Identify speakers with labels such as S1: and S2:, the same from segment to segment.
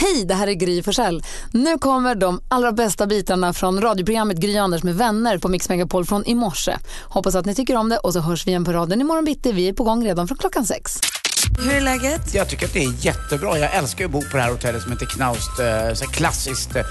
S1: Hej, det här är Gry Forssell. Nu kommer de allra bästa bitarna från radioprogrammet Gry Anders med vänner på Mix Megapol från i morse. Hoppas att ni tycker om det och så hörs vi igen på raden imorgon bitti. Vi är på gång redan från klockan sex.
S2: Hur är läget?
S3: Jag tycker att det är jättebra. Jag älskar ju att bo på det här hotellet som heter Knaust. eh, Så här klassiskt, eh,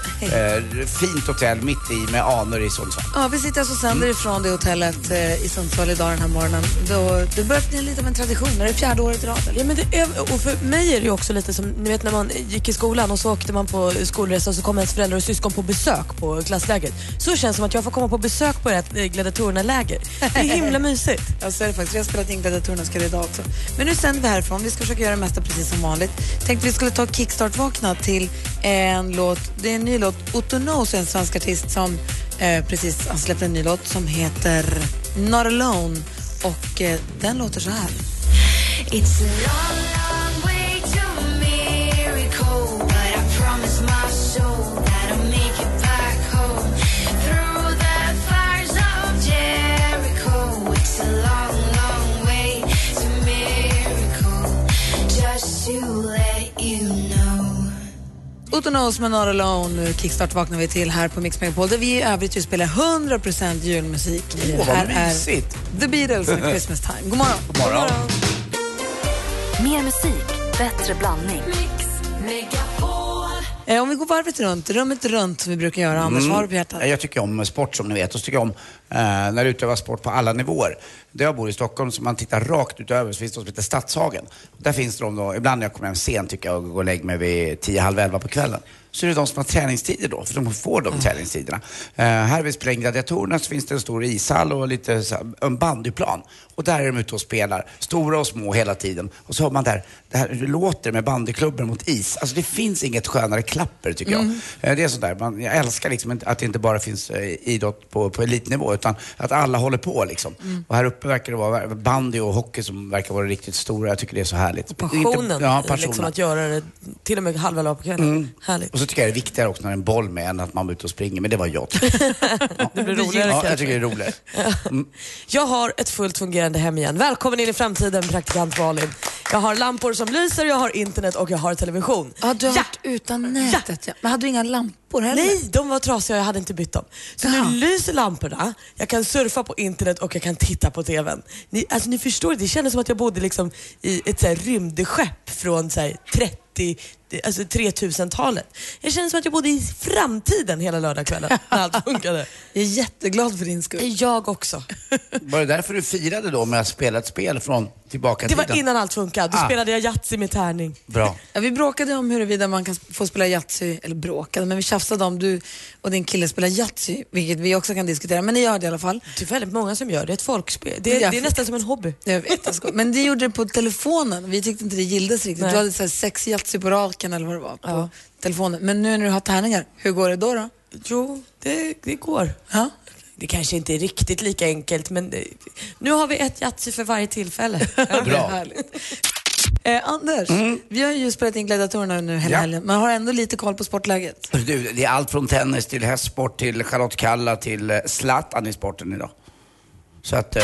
S3: fint hotell mitt i med anor i Sundsvall.
S2: Ja, vi sitter alltså och sänder ifrån det hotellet eh, i Sundsvall idag den här morgonen. Då, det börjar bli lite av en tradition. Är det fjärde året i rad? eller?
S4: Ja, men det är, och för mig är det ju också lite som, ni vet när man gick i skolan och så åkte man på skolresa och så kom ens föräldrar och syskon på besök på klasslägret. Så känns det som att jag får komma på besök på det här eh, gladiatorerna-läger. Det är himla mysigt.
S2: Ja, så är det faktiskt. Vi har spelat in Gladiatorernas ska det idag också. Men nu sänder vi härifrån. Vi ska försöka göra det mesta precis som vanligt. Tänkte vi skulle ta kickstart-vakna till en låt. Det är en ny låt. Otto Knows är en svensk artist som eh, precis har släppt en ny låt som heter Not Alone. Och eh, den låter så här.
S5: It's a long, long way to a miracle, but I promise my soul that I'll make it back home. Through the fires of Jericho, it's a long, long way to a miracle, just to let you know.
S2: Otto Knows med Not Alone. Kickstart vaknar vi till här på Mix Megapol där vi i övrigt ju spelar 100% julmusik.
S3: Åh, vad
S2: här
S3: mysigt.
S2: är The Beatles med Christmas Time. God morgon.
S3: God morgon.
S6: Mer musik, bättre blandning.
S2: Eh, om vi går varvet runt, rummet runt som vi brukar göra. Anders, vad har du på hjärtat?
S3: Mm. Jag tycker om sport som ni vet och så tycker jag om eh, när det utövas sport på alla nivåer. Där jag bor i Stockholm, så man tittar rakt utöver, så finns det något som heter Stadshagen. Där finns det de då, ibland när jag kommer hem sent tycker jag och går och lägger mig vid tio, halv elva på kvällen. Så är det de som har träningstider då, för de får
S2: Mm.
S3: de träningstiderna. Eh, här vid Spräng Gladiatorerna så finns det en stor ishall och lite, så här, en bandyplan. Och där är de ute och spelar, stora och små hela tiden. Och så hör man där, det här hur det låter med bandyklubben mot is. Alltså det finns inget skönare klapper tycker jag.
S4: Mm.
S3: Eh, Det är sådär, man, jag älskar liksom inte- att det inte bara finns eh, idrott på, på elitnivå utan att alla håller på liksom.
S4: Mm.
S3: Och här uppe verkar det vara bandy och hockey som verkar vara riktigt stora. Jag tycker det är så härligt.
S4: Passionen,
S3: Inte- ja, passionen.
S4: Liksom, att göra det till och med halv elva på kvällen. Härligt.
S3: Och så tycker jag det är viktigare också när det är en boll med än att man är ute och springer. Men det var jag.
S4: Det blir roligare
S3: ja,
S4: kanske.
S3: jag tycker det är roligare.
S4: Jag har ett fullt fungerande hem igen. Välkommen in i framtiden praktikant Malin. Jag har lampor som lyser, jag har internet och jag har television.
S2: Ja, du har varit utan nätet. Ja. Men hade du inga lampor heller?
S4: Nej, de var trasiga och jag hade inte bytt dem. Så
S2: Jaha.
S4: nu lyser lamporna, jag kan surfa på internet och jag kan titta på TVn. Ni, alltså, ni förstår, det kändes som att jag bodde liksom i ett så här, rymdskepp från så här, 30 Alltså 3000-talet. Jag kände som att jag bodde i framtiden hela lördagskvällen när allt funkade.
S2: Jag är jätteglad för din skull.
S4: Jag också.
S3: Var det därför du firade då med att spela ett spel från tillbaka i
S4: Det var
S3: tiden?
S4: innan allt funkade. Då
S3: Ah.
S4: spelade jag Yatzy med tärning.
S3: Bra.
S2: Ja, vi bråkade om huruvida man kan sp- få spela Yatzy, eller bråkade, men vi tjafsade om du och din kille spelar Yatzy, vilket vi också kan diskutera, men ni gör det i alla fall.
S4: Det är väldigt många som gör det. Det är ett folkspel. Det,
S2: Ja.
S4: det är nästan som en hobby.
S2: Jag vet, jag skojar. Men det gjorde det på telefonen. Vi tyckte inte det gillades riktigt.
S4: Nej.
S2: Du hade så här sex Yatzy på raken eller vad det var på
S4: Ja.
S2: telefonen. Men nu när du har tärningar, hur går det då? då?
S4: Jo, det, det går.
S2: Ja?
S4: Det kanske inte är riktigt lika enkelt men det, nu har vi ett Yatzy för varje tillfälle. Ja.
S2: Det är
S3: Bra. Mm.
S2: härligt. Eh, Anders, vi har ju spelat in Gladiatorerna nu hela
S3: Ja.
S2: helgen, men har ändå lite koll på sportläget.
S3: Du, det är allt från tennis till hästsport till Charlotte Kalla till eh, Zlatan i sporten idag. Så att... Eh,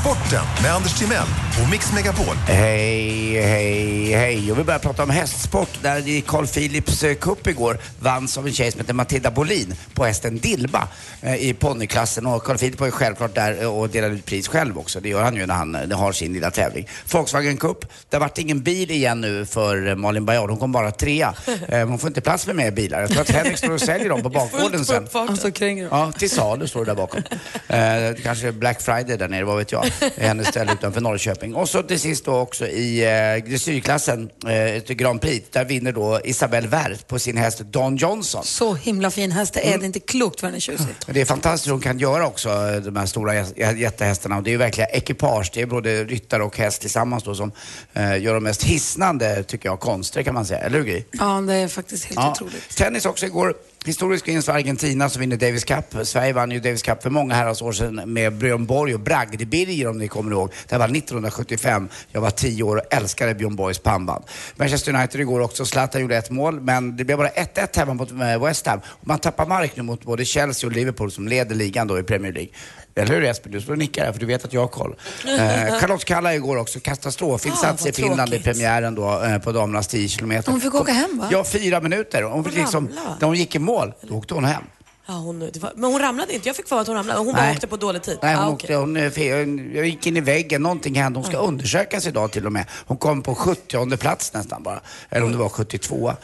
S7: Sporten med Anders Timell och Mix Megapol.
S3: hej, hej, hej. Och vi börjar prata om hästsport där i Carl Philips eh, Cup igår vanns av en tjej som heter Matilda Bolin på hästen Dilba eh, i ponnyklassen. Och Carl Philip var ju självklart där eh, och delade ut pris själv också. Det gör han ju när han eh, har sin lilla tävling. Volkswagen Cup, det har varit ingen bil igen nu för eh, Malin Baryard. Hon kom bara trea. Eh, Hon får inte plats med mer bilar. Jag tror att Henrik står och säljer dem på bakgården sen.
S2: Han står och kränger
S3: Ja, till salu står det där bakom. Eh, kanske Black Friday där nere, vad vet jag. I hennes ställe utanför Norrköping. Och så till sist då också i eh, dressyrklassen, eh, ett Grand Prix, där vinner då Isabelle Werth på sin häst Don Johnson.
S2: Så himla fin häst, det är det är inte klokt vad den är tjusig.
S3: Men Det är fantastiskt hur hon kan göra också, eh, de här stora jä- jättehästarna. Och det är ju verkligen ekipage. Det är både ryttare och häst tillsammans då som eh, gör de mest hisnande, tycker jag, konster kan man säga. Eller hur Gry?
S2: Ja, det är faktiskt helt otroligt.
S3: Tennis också igår. Historisk vinst för Argentina som vinner Davis Cup. Sverige vann ju Davis Cup för många herrans år sedan med Björn Borg och Bragd Birger om ni kommer ihåg. Det här var 1975. Jag var 10 år och älskade Björn Borgs pannband. Manchester United igår också. Zlatan gjorde ett mål, men det blev bara 1-1 hemma mot eh, West Ham. Och man tappar mark nu mot både Chelsea och Liverpool som leder ligan då i Premier League. Eller hur Jesper? Du står och nickar här för du vet att jag har koll. Eh, Charlotte Kalla igår också. Katastrofinsats
S4: Ah,
S3: i
S4: vad
S3: Finland
S4: tråkigt.
S3: i premiären då eh, på damernas 10 kilometer.
S4: Hon fick åka hem, va?
S3: Ja, fyra minuter. Hon fick
S4: Hon
S3: liksom,
S4: ramlade.
S3: när hon gick i mål, då åkte hon hem.
S4: Ja, hon, det var, men hon ramlade inte. Jag fick för mig att hon ramlade. Hon bara
S3: Nej.
S4: åkte på dålig tid.
S3: Nej, hon,
S4: Ah,
S3: åkte,
S4: okej. Mm.
S3: hon, eh, fe- hon jag gick in i väggen, någonting hände. Hon ska undersökas idag till och med. Hon kom på 70 plats nästan bara. Eller om det var 72 eh,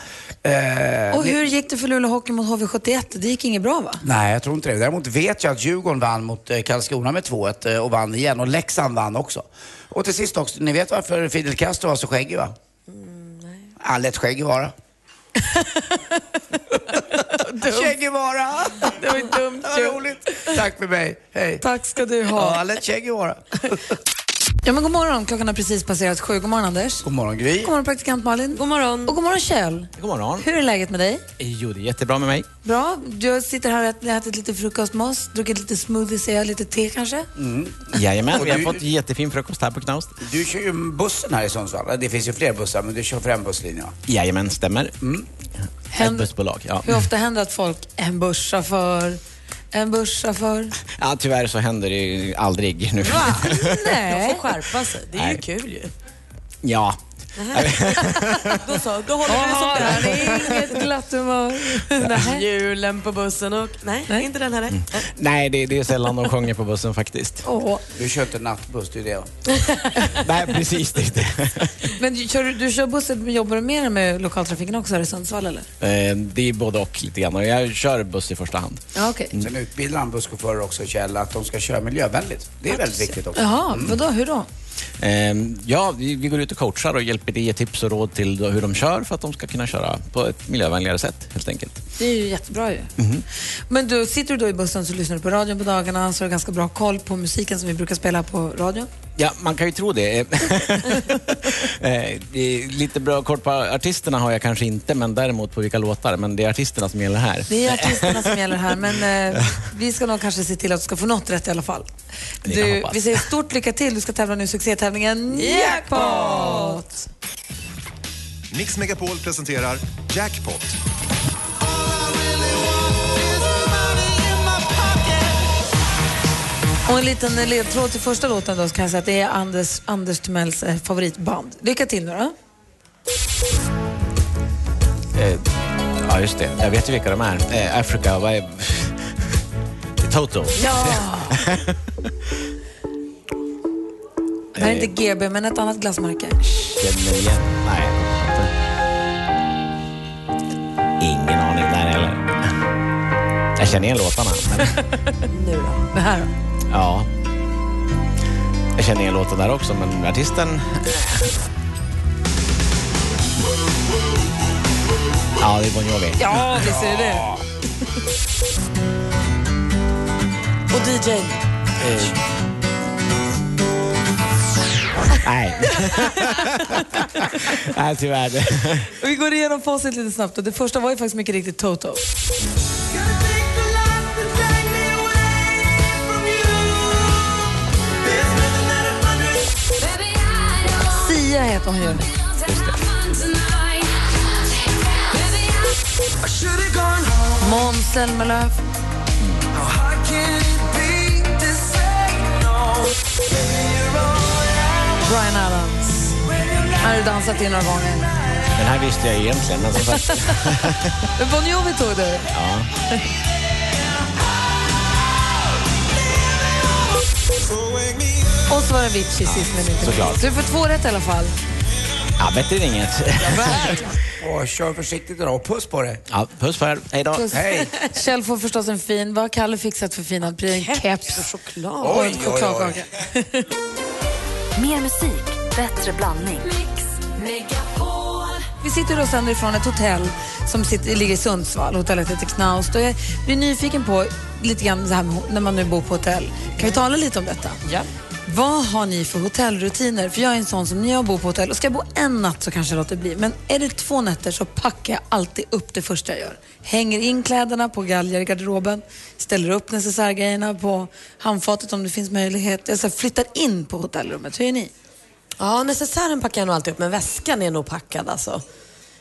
S2: Och hur gick det för Luleå Hockey mot HV71? Det gick inget bra va?
S3: Nej, jag tror inte det. Däremot vet jag att Djurgården vann mot eh, Karlskrona med 2-1 eh, och vann igen. Och Leksand vann också. Och till sist också, ni vet varför Fidel Castro var så skäggig va?
S2: Mm,
S3: nej. Han lät skäggig vara. Che Guevara!
S2: Det var ju dumt
S3: Vad
S2: ju.
S3: roligt. Tack för mig. Hej.
S2: Tack ska du
S3: Ja,
S2: ha.
S3: han lät Che Guevara.
S2: Ja men god morgon, klockan har precis passerat sju. God morgon Anders.
S3: God morgon Gry.
S2: God morgon praktikant Malin. God morgon. Och god morgon Kjell.
S8: God morgon.
S2: Hur är läget med dig?
S8: Jo, det är jättebra med mig.
S2: Bra. Du sitter här och ätit- ätit lite frukostmos, druckit lite smoothie, ser jag, lite te kanske?
S8: Jajamän,
S3: Och
S8: vi har
S3: du-
S8: fått jättefin frukost här på Knaust.
S3: Du kör ju bussen här i Sundsvall. Det finns ju fler bussar, men du kör för en busslinje. va?
S8: Jajamän, stämmer. Ett
S2: Händer,
S8: bussbolag, ja.
S2: hur ofta händer att folk, en busschaufför, en busschaufför?
S8: ja. Tyvärr så händer det ju aldrig nu.
S2: Va?
S4: De
S2: Nej.
S4: får skärpa sig. Det är ju
S8: Nej.
S4: kul ju.
S8: Ja.
S4: Då så, då håller vi
S2: Jaha,
S4: som
S2: han
S4: där.
S2: är inget glatt humör. Nej.
S4: Julen på bussen och... Nej,
S2: Nej. Mm.
S4: inte den här. Nej.
S8: Nej, det, det är sällan de sjunger på bussen faktiskt.
S2: Åh.
S3: Du kör inte nattbuss, det är det. va?
S8: Nej, precis. Det är det.
S2: Men du kör, du kör bussen, men jobbar du mer med lokaltrafiken också här i Sundsvall eller?
S8: Eh, Det är både och lite grann. Och Jag kör buss i första hand.
S2: Ja, okej.
S3: Mm. Sen utbildar han busschaufförer också, Kjell, att de ska köra miljövänligt. Det är väldigt viktigt också.
S2: Jaha, vadå, hur då?
S8: Eh, Ja, vi vi går ut och coachar och hjälper till, ger tips och råd till hur de kör för att de ska kunna köra på ett miljövänligare sätt helt enkelt.
S2: Det är ju jättebra ju.
S8: Mhm.
S2: Men du, sitter du då i bussen så lyssnar du på radion på dagarna så har du ganska bra koll på musiken som vi brukar spela på radion.
S8: Ja, man kan ju tro det. Eh, det är lite bra kort på artisterna har jag kanske inte, men däremot på vilka låtar. Men det är artisterna som gäller här.
S2: Det är artisterna som gäller här, men eh, vi ska nog kanske se till att du ska få något rätt i alla fall.
S8: Det kan jag
S2: Du,
S8: hoppas.
S2: vi säger stort lycka till. Du ska tävla nu i succétävlingen Jackpot!
S7: Mix Megapol presenterar Jackpot.
S2: Och en liten ledtråd till första låten då så kan jag säga att det är Anders, Anders Timells eh, favoritband. Lycka till nu då.
S8: Eh, ja, just det. Jag vet ju vilka de är. Eh, Africa, vad är... Toto.
S2: Ja! Det här är inte GB, men ett annat glassmärke.
S8: Känner igen. Nej. Ingen aning. Nej, eller. Jag känner igen låtarna. Men,
S2: Det här då?
S8: ja. Jag känner igen låten där också, men artisten... Ja, det är Bon Jovi.
S2: Ja, visst är det det.
S4: Och DJ. n.
S2: Eh.
S8: Nej. Nej, tyvärr.
S2: Och vi går igenom facit lite snabbt. Och det första var ju faktiskt mycket riktigt Toto. Sia heter hon ju. Måns Zelmerlöw. Bryan Adams. Han har du dansat till några gånger.
S8: Den här visste jag egentligen, men som sagt.
S2: Men Bon Jovi tog du. Och så var det Avicii sist men inte
S8: såklart.
S2: minst. Du får två rätt i alla fall.
S8: Ja, bättre än inget.
S3: Och kör försiktigt idag och puss på dig.
S8: Ja, puss på er. Hej då.
S2: Puss.
S3: Hej.
S2: Kjell får förstås en fin, vad har Kalle fixat för fina pryl? En keps
S4: Choklad.
S2: och en
S3: Oj, oj, oj.
S2: chokladkaka.
S6: Mer musik, bättre blandning.
S2: Vi sitter och sänder ifrån ett hotell som sitter, ligger i Sundsvall. Hotellet heter Knaust. Och jag blir nyfiken på lite grann så här, med- när man nu bor på hotell. Kan vi tala lite om detta?
S4: Ja.
S2: Vad har ni för hotellrutiner? För jag är en sån som när jag bor på hotell och ska jag bo en natt så kanske jag låter bli. Men är det två nätter så packar jag alltid upp det första jag gör. Hänger in kläderna på galgar i garderoben, ställer upp necessärgrejerna på handfatet om det finns möjlighet. Jag så här, flyttar in på hotellrummet. Hur är ni?
S4: Ja, necessären packar jag nog alltid upp, men väskan är nog packad alltså.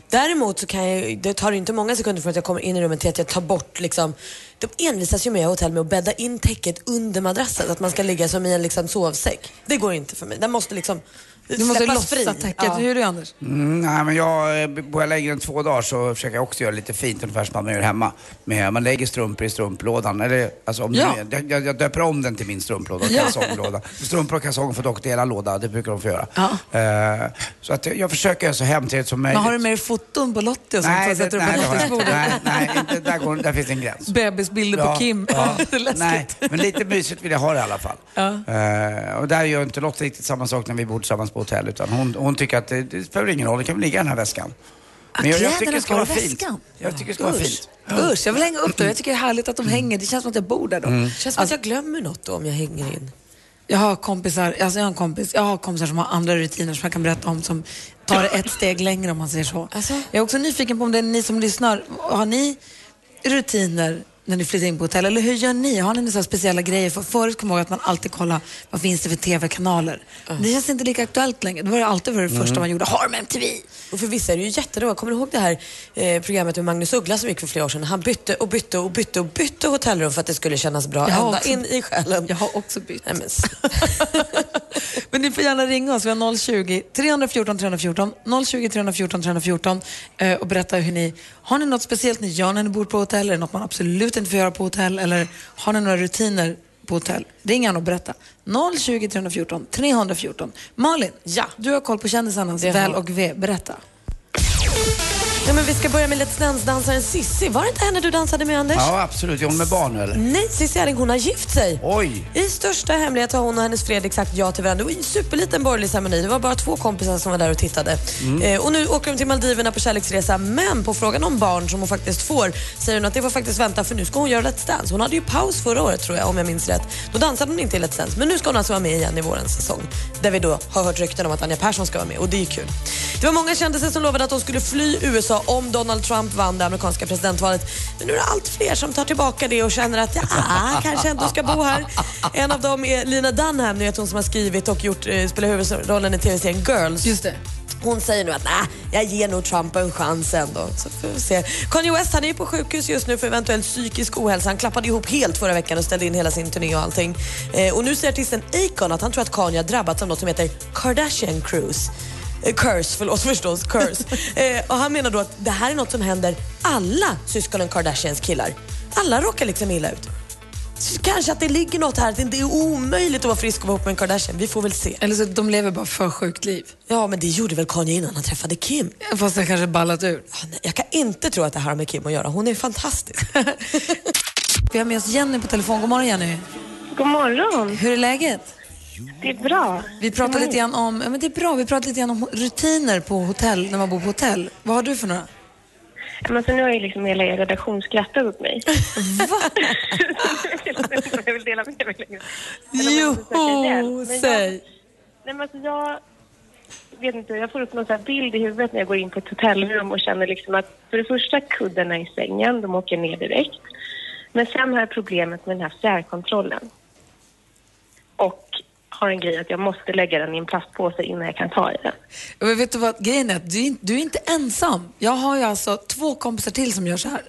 S4: Däremot så kan jag, det tar inte många sekunder från att jag kommer in i rummet till att jag tar bort liksom, de envisas ju med i hotell med att bädda in täcket under madrassen, att man ska ligga som i en liksom sovsäck. Det går inte för mig. Den måste liksom
S2: Du måste
S4: släppas
S2: lossa
S4: fri.
S2: täcket.
S4: Ja.
S2: Hur är det Anders?
S3: Mm, nej, men jag, eh, bor jag längre än två dagar så försöker jag också göra lite fint, ungefär som man gör hemma. Men man lägger strumpor i strumplådan. Eller, alltså, om
S2: Ja.
S3: det, jag, jag döper om den till min strumplåda och
S2: Ja.
S3: kalsonglåda. Strumpor och kalsonger får dock dela låda, det brukar de få göra.
S2: Ja.
S3: Eh, så att jag försöker göra så hemtrevligt som
S2: Men
S3: möjligt.
S2: har du med dig foton på Lottie och sånt?
S3: Nej,
S2: så sätter
S3: det-
S2: du på
S3: nej, det har jag
S2: Lotties
S3: inte.
S2: bord?
S3: Nej, nej inte, där, går, där finns en gräns.
S2: Bebisbilder
S3: Ja,
S2: på Kim.
S3: ja.
S2: det är läskigt.
S3: Nej, men lite mysigt vill jag ha det i alla fall. Eh, och där gör inte Lotta riktigt samma sak när vi bor tillsammans på hotell. Utan hon, hon tycker att det, det spelar ingen roll, det kan väl ligga i den här väskan. Men jag, jag tycker det ska vara fint. Jag tycker det ska vara fint.
S2: Usch, jag vill hänga upp dem. Jag tycker det är härligt att de hänger. Det känns som att jag bor där då.
S3: Mm.
S2: Känns som att jag glömmer något då om jag hänger in. Jag har kompisar, alltså jag har, en kompis, jag har kompisar som har andra rutiner som jag kan berätta om som tar det ett steg längre om man säger så.
S3: Alltså?
S2: Jag är också nyfiken på om det är ni som lyssnar. Har ni rutiner när ni flyttar in på hotell? Eller hur gör ni? Har ni några så här speciella grejer? För förut kom jag ihåg att man alltid kollade vad finns det för TV-kanaler. Det känns inte lika aktuellt längre. Det var det alltid för det första
S3: Mm.
S2: man gjorde. Har de MTV?
S4: Och för vissa är det ju jättebra. Kommer du ihåg det här eh, programmet med Magnus Uggla som gick för flera år sedan? Han bytte och bytte och bytte och bytte hotellrum för att det skulle kännas bra
S2: Jag har
S4: ända
S2: också-
S4: in i själen. Jag
S2: har också bytt.
S4: Nej, men, s-
S2: Men ni får gärna ringa oss. Vi har 020 314 314. 020 314 314. eh, Och berätta hur ni... Har ni något speciellt ni gör när ni bor på hotell? Eller något man absolut inte får göra på hotell? Eller har ni några rutiner på hotell? Ring gärna och berätta. 020 314 314. Malin, ja. du har koll på kändisarnas
S4: Det har
S2: väl
S4: jag.
S2: och ve. Berätta.
S4: ja, men vi ska börja med Let's Dance-dansaren Sissi. Var det inte henne du dansade med Anders?
S3: Ja, absolut. Är hon med barn nu
S2: Mm.
S3: eller?
S4: Nej, Cissi Erling hon har gift sig.
S3: Oj!
S4: I största hemlighet har hon och hennes Fredrik sagt ja till varandra. Det var en superliten borgerlig ceremoni. Det var bara två kompisar som var där och tittade.
S5: Mm.
S4: Eh, och nu åker de till Maldiverna på kärleksresa. Men på frågan om barn som hon faktiskt får säger hon att det får faktiskt vänta för nu ska hon göra Let's Dance. Hon hade ju paus förra året tror jag om jag minns rätt. Då dansade hon inte i Let's Dance. Men nu ska hon alltså vara med igen i vårens säsong. Där vi då har hört rykten om att Anja Persson ska vara med och det är ju kul. Det var många kändisar som lovade att de skulle fly USA om Donald Trump vann det amerikanska presidentvalet. Men nu är det allt fler som tar tillbaka det och känner att ja, kanske ändå ska bo här. En av dem är Lina Dunham, ni vet hon som har skrivit och gjort, eh, spelar huvudrollen i tv-serien Girls. Just
S2: det.
S4: Hon säger nu att nej, jag ger nog Trump en chans ändå. Så får vi se. Kanye West han är ju på sjukhus just nu för eventuell psykisk ohälsa. Han klappade ihop helt förra veckan och ställde in hela sin turné och allting. Eh, och nu säger artisten Akon att han tror att Kanye har drabbats av något som heter Kardashian Cruise. Eh, Curse, förlåt förstås. Curse. Eh, och han menar då att det här är något som händer alla syskonen Kardashians killar. Alla råkar liksom illa ut. Så kanske att det ligger något här, att det är omöjligt att vara frisk och vara ihop med en Kardashian. Vi får väl se.
S2: Eller så de lever bara för sjukt liv.
S4: Ja, men det gjorde väl Kanye innan han träffade Kim?
S2: Fast det kanske ballat ur.
S4: nej, jag kan inte tro att det här har med Kim att göra. Hon är fantastisk.
S2: Vi har med oss Jenny på telefon. God morgon Jenny.
S9: God morgon.
S2: Hur är läget?
S9: Det är bra.
S2: Vi pratar
S9: Mm.
S2: lite grann om, ja, men det är bra, vi pratar lite grann om rutiner på hotell, när man bor på hotell. Vad har du för några?
S9: Men alltså, nu har ju liksom hela er redaktion skrattat åt mig. jag vill dela med mig längre.
S2: Jo, säg.
S9: Nej, men alltså, jag vet inte, jag får upp någon så här bild i huvudet när jag går in på ett hotellrum och känner liksom att för det första kuddarna i sängen, de åker ner direkt. Men sen har jag problemet med den här fjärrkontrollen. Och har en grej att jag måste lägga den i en plastpåse innan jag kan ta i den.
S2: Men vet du vad, grejen är att du, är inte- du är inte ensam. Jag har ju alltså två kompisar till som gör så här.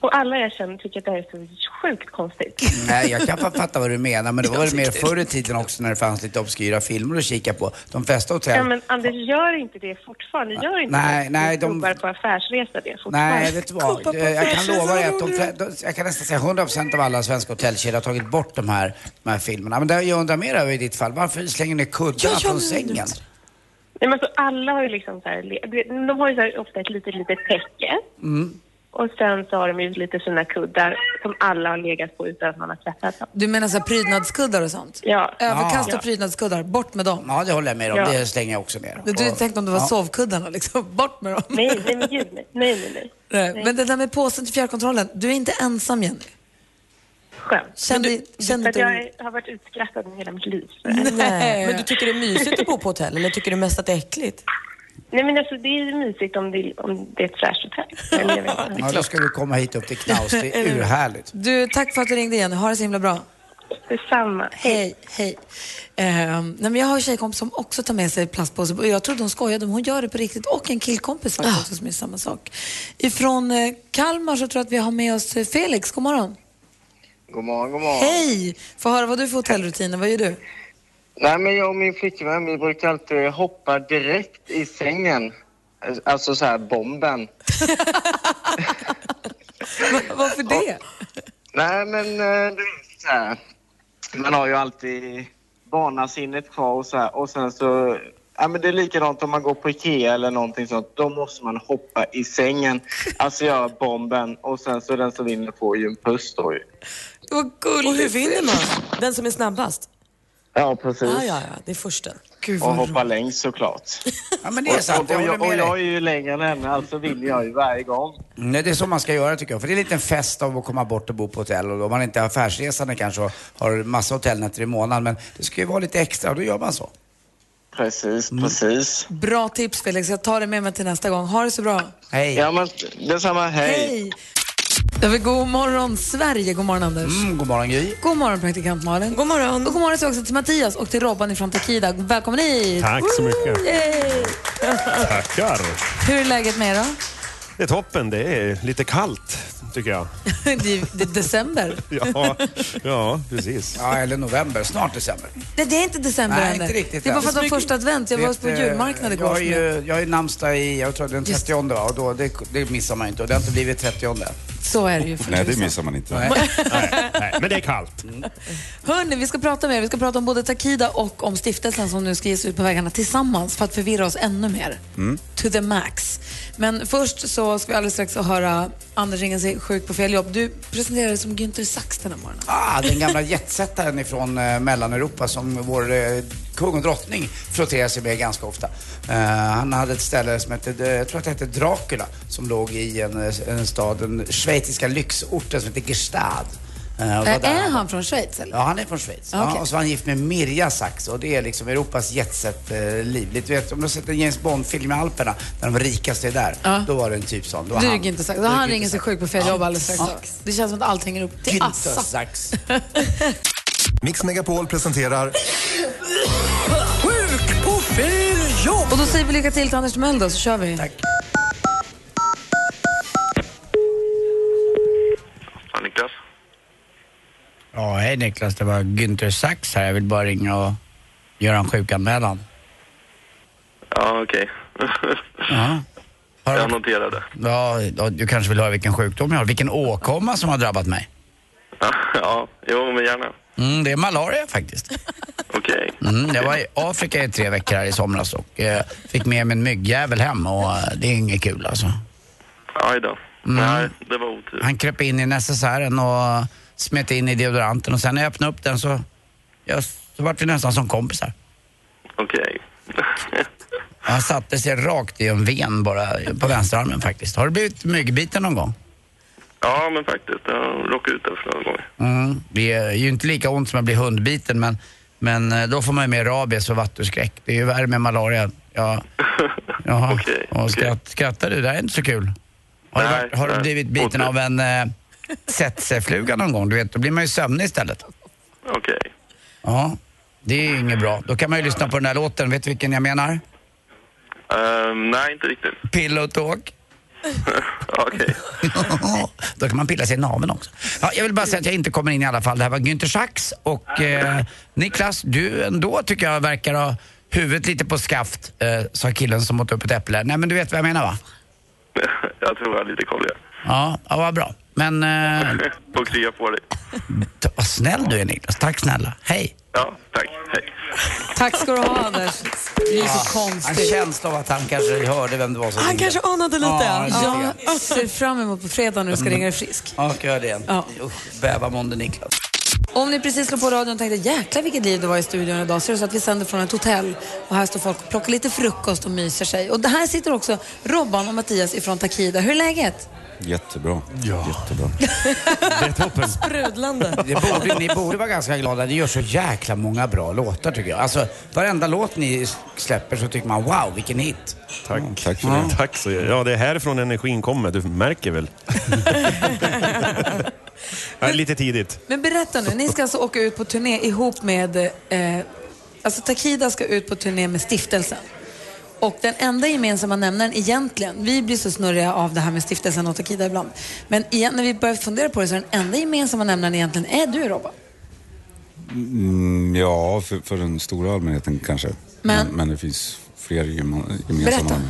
S9: Och alla jag känner tycker att det här är så sjukt konstigt.
S3: Nej, jag kan fa- fatta vad du menar, men det var
S9: Jag
S3: väl mer
S9: tycker-
S3: förr i tiden också när det fanns lite obskyra filmer att kika på. De flesta hotell...
S9: Ja, men Anders, gör inte det fortfarande. Gör inte
S3: Nej,
S9: det.
S3: nej,
S9: du
S3: de-
S9: provar på affärsresa det fortfarande.
S3: Nej, vet du vad? Eh, Jag kan lova dig att de, flä- de, jag kan nästan säga 100% av alla svenska hotellkedjor har tagit bort de här, de här filmerna. Men det jag undrar mer över i ditt fall, varför slänger ni kuddarna från sängen?
S9: Nej, men så alla har ju liksom så här, le- du vet, de har ju så här ofta ett litet, litet täcke.
S3: Mm.
S9: Och sen så har de ju lite sina kuddar som alla har legat på utan att man har tvättat dem.
S2: Du menar så här prydnadskuddar och sånt?
S9: Ja.
S2: Överkast och
S9: Ja.
S2: prydnadskuddar, bort med dem.
S3: Ja, det håller jag med om.
S2: Ja.
S3: Det slänger jag också ner.
S2: Du
S3: Och-
S2: tänkte om det var
S3: ja.
S2: sovkuddarna liksom, bort med dem.
S9: Nej, nej, men gud, nej, nej, nej. nej.
S2: Nej, Men det där med påsen till fjärrkontrollen, du är inte ensam Jenny.
S9: skämt.
S4: Kände-
S9: Men du-
S4: kände
S9: för att
S4: du-
S9: jag är- har varit utskrattad med hela mitt liv.
S4: Nej. Men du tycker det är mysigt att bo på hotell eller tycker du mest att det är äckligt?
S9: Nej men alltså det är ju mysigt om det, om det är ett fräscht hotell. Eller jag vet inte.
S3: Ja, då ska du komma hit upp till Knaus. Det är urhärligt.
S2: Du, tack för att du ringde igen. Ha det så himla bra.
S9: Detsamma.
S2: Hej, hej. Ehm, nej, men jag har en tjejkompis som också tar med sig plastpåse. Och Jag trodde hon skojade, men hon gör det på riktigt. Och en killkompis faktiskt
S4: Ah.
S2: också som är samma sak. Ifrån eh, Kalmar så tror jag att vi har med oss eh, Felix. God morgon.
S10: God morgon, god morgon.
S2: Hej! Få höra vad du för hotellrutiner. Vad gör du?
S10: Nej, men jag och min flickvän, vi brukar alltid hoppa direkt i sängen. Alltså så här bomben.
S2: Varför det?
S10: Nej, men eh, du vet så här. Man har ju alltid barnasinnet kvar och så här. Och sen så... Ja, men det är likadant om man går på Ikea eller någonting sånt. Då måste man hoppa i sängen. Alltså göra bomben. Och sen så den som vinner får ju en puss då ju.
S4: Vad gulligt. Och hur vinner man? Den som är snabbast?
S10: Ja, precis.
S4: Ah, ja, ja, det är försten.
S10: och hoppa längst såklart.
S3: Ja, men det är sant. Jag
S10: Och, och,
S3: håller
S10: jag,
S3: med
S10: och
S3: dig.
S10: jag är ju längre än henne, alltså vinner jag ju varje gång.
S3: Nej, det är så man ska göra tycker jag. För det är en liten fest av att komma bort och bo på hotell. Och om man inte är affärsresande kanske och har massa hotellnätter i månaden. Men det ska ju vara lite extra och då gör man så.
S10: Precis, precis.
S2: Bra tips Felix. Jag tar det med mig till nästa gång. Ha det så bra.
S3: Hej.
S10: Ja, men detsamma.
S2: Hej! Jag vill god morgon Sverige. God morgon Anders.
S3: Mm, god morgon Gry.
S2: God morgon praktikant Malin. God morgon. Och god morgon så också till Mattias och till Robban ifrån Takida. Välkommen hit.
S11: Tack så mycket.
S2: Yay!
S11: Tackar.
S2: Hur är läget med er då?
S11: Det är toppen. Det är lite kallt, tycker jag.
S2: det, är, det är december.
S11: Ja, ja precis.
S3: Ja, eller november. Snart december.
S2: Nej, det är inte december
S3: Nej,
S2: än.
S3: inte riktigt
S2: Det var
S3: än.
S2: för att det var första advent. Jag var
S3: Vet,
S2: på
S3: eh,
S2: julmarknad igår.
S3: Jag har
S2: som jag-
S3: ju, jag har ju namnsdag i, jag tror den 30 va? Och då, det, det missar man ju inte. Och det har inte blivit 30
S2: Så är det ju. för
S12: Nej, det
S2: tusan.
S12: missar man inte.
S3: Nej.
S11: Nej, men det är kallt.
S2: Hörni, vi ska prata med er. Vi ska prata om både Takida och om stiftelsen som nu ska ge sig ut på vägarna tillsammans för att förvirra oss ännu mer. Mm. To the max. Men först så ska vi alldeles strax få höra Anders ringa sig sjuk på fel jobb. Du presenterar dig som Günther Sachs den här morgonen.
S3: Ah, den gamla jetsättaren ifrån eh, Mellaneuropa som vår eh, kung och drottning frotterar sig med ganska ofta. Eh, han hade ett ställe som hette, eh, jag tror att det hette Dracula, som låg i en, eh, en stad, den schweiziska lyxorten som heter Gestad. Eh, och det var
S2: Äh,
S3: där
S2: är
S3: han var.
S2: han från Schweiz eller?
S3: Ja, han är från Schweiz.
S2: Ah, okej.
S3: Ja, och så var han gift med Mirja Sachs och det är liksom Europas jetset-liv. Du vet, om du har sett en James Bond-film i Alperna, när de rikaste är där, då var det en typ sån. Då var
S2: Du är
S3: han-
S2: Günther Sachs.
S3: då
S2: Och
S3: är
S2: han
S3: Günther
S2: ringer sig
S3: Sachs.
S2: sjuk på fel
S3: Ja.
S2: jobb alldeles strax.
S3: Ja.
S2: Det känns som att allt hänger upp till
S3: Günther
S2: Assa.
S3: Sachs.
S7: Mix Megapol presenterar
S2: Sjuk på fel jobb! Och då säger vi lycka till till Anders Timell då, så kör vi. Tack.
S13: Ja, Niklas.
S3: Ja, hej Niklas. Det var Günther Sachs här. Jag vill bara ringa och göra en sjukanmälan.
S13: Ja, okej.
S3: Ja.
S13: jag noterade.
S3: Ja, ja, du kanske vill höra vilken sjukdom jag har? Vilken åkomma som har drabbat mig?
S13: ja, jo, men gärna.
S3: Mm, det är malaria faktiskt.
S13: Okej.
S3: Mm, jag var i Afrika i tre veckor här i somras och eh, fick med mig en myggjävel hem och eh, det är inget kul alltså.
S13: Aj då.
S3: Mm.
S13: Nej, det var otur.
S3: Han kröp in i necessären och smet in i deodoranten och sen när jag öppnade upp den så, ja, så vart vi nästan som kompisar.
S13: Okej.
S3: Han satte sig rakt i en ven bara på vänsterarmen faktiskt. Har du blivit myggbiten någon gång?
S13: ja, men faktiskt. Jag råkade ut där för några gånger.
S3: Mm. Det är ju inte lika ont som att bli hundbiten men, men eh, då får man ju mer rabies och vattuskräck. Det är ju värre med malaria. Ja. Jaha. och skratt, skrattar du? Det här är inte så kul. Har,
S13: Nej,
S3: du, varit- har du
S13: nej.
S3: blivit biten av en eh, tsetsefluga någon gång? Du vet, då blir man ju sömnig istället.
S13: Okej.
S3: Ja, det är ju inget bra. Då kan man ju lyssna på den där låten. Vet du vilken jag menar?
S13: Ehm, nej, inte riktigt.
S3: Pillow talk.
S13: Okej.
S3: Då kan man pilla sig i naveln också. Ja, jag vill bara säga att jag inte kommer in i alla fall. Det här var Günther Sachs och eh, Niklas, du ändå tycker jag verkar ha huvudet lite på skaft, eh, sa killen som åt upp ett äpple. Nej men du vet vad jag menar va?
S13: jag tror jag har lite koll, ja.
S3: Ja, ja vad bra. Men eh,
S13: Får krya på dig.
S3: t- vad snäll du är Niklas. Tack snälla. Hej.
S13: Ja, tack. Hej.
S2: Tack ska du ha Anders. Det är ju så
S3: en
S2: konstigt.
S3: känsla av att han kanske hörde vem det var som
S2: Han
S3: ringde.
S2: kanske anade lite.
S3: Ja, lite
S2: Ja,
S3: grann.
S2: jag ser fram emot på fredag när du ska
S3: Mm.
S2: ringa dig frisk.
S3: Ja, ska jag göra det igen? Ja. Usch, bävarmånde Niklas.
S2: Om ni precis slår på radion och tänkte jäklar vilket liv det var i studion idag så är det så att vi sänder från ett hotell och här står folk och plockar lite frukost och myser sig. Och det här sitter också Robban och Mattias ifrån Takida. Hur är läget?
S12: Jättebra. Ja. Jättebra.
S3: Det är toppen.
S4: Sprudlande.
S3: Det borde, ni borde vara ganska glada. Ni gör så jäkla många bra låtar tycker jag. Alltså, varenda låt ni släpper så tycker man wow, vilken hit.
S11: Tack. Tack,
S3: för det.
S11: Tack så Ja, det är härifrån energin kommer. Du märker väl? ja, lite tidigt.
S2: Men berätta nu, ni ska alltså åka ut på turné ihop med... Eh, alltså Takida ska ut på turné med stiftelsen. Och den enda gemensamma nämnaren egentligen, vi blir så snurriga av det här med stiftelsen och Takida ibland. Men igen, när vi börjar fundera på det så är den enda gemensamma nämnaren egentligen är du Robban.
S12: Mm, ja, för, för den stora allmänheten kanske.
S2: Men-
S12: Men, men det finns fler gem- gemensamma.
S2: Berätta.